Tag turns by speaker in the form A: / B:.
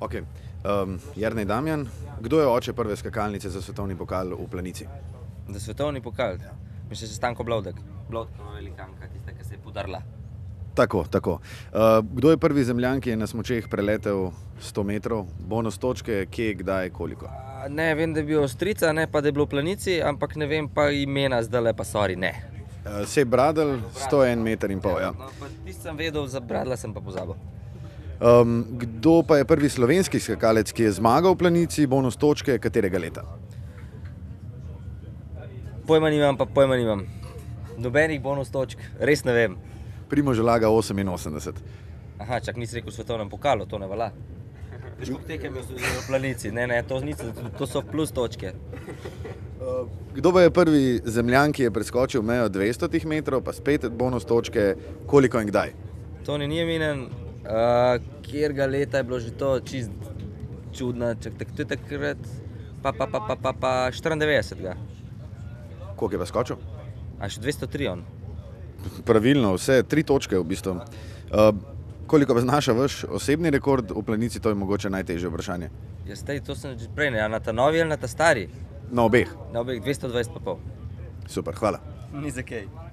A: Okay. Um, Jarnej Damjan, kdo je oče prve skakalnice za svetovni pokal v Planici?
B: Za svetovni pokal, ja. mislim, da je Stanko Blodek. Blodkova no, velikanka, tista, ki se je podarila.
A: Tako, tako. Uh, kdo je prvi zemljan, ki je na smočeh preletel 100 metrov, bonus točke, kje, kdaj, koliko?
B: A, Ne vem, da je bil Avstrica, ne pa da je bilo v Planici, ampak ne vem pa imena zdaj lepa, sorry, ne.
A: Uh, Sej Bradl, 101 meter in pol. Ja.
B: No, pa tisti sem vedel, za Bradla sem pa pozabil.
A: Um, kdo pa je prvi slovenski skakalec, ki je zmagal v Planici, bonus točke, katerega leta?
B: Pojma nimam, pa pojma nimam. Nobenih bonus točk, res ne vem.
A: Primož Laga 88.
B: Aha, čak nisi rekel v svetovnem pokalu, to ne velja. Veš, koliko tekem je v- v planici, ne, ne, to, niso, to so plus točke.
A: Uh, Kdo pa je prvi zemljan, ki je preskočil mejo 200 metrov, pa spet bonus točke, koliko in kdaj?
B: Toni ni imenen, uh, kjer ga leta je bilo že to čist čudno, čak tak, to je takrat, pa pa pa pa pa, pa 94. -ga.
A: Koliko je pa skočil?
B: A še 203 on.
A: Pravilno, vse tri točke v bistvu. Uh, koliko pa znaša vaš osebni rekord v planici, to je mogoče najtežje vprašanje.
B: Jaz te, Ja, to sem že prej, ne, a na ta novi ali na ta stari,
A: Na obeh,
B: na obeh 220 pa pol.
A: super, hvala.
B: Ni za kaj.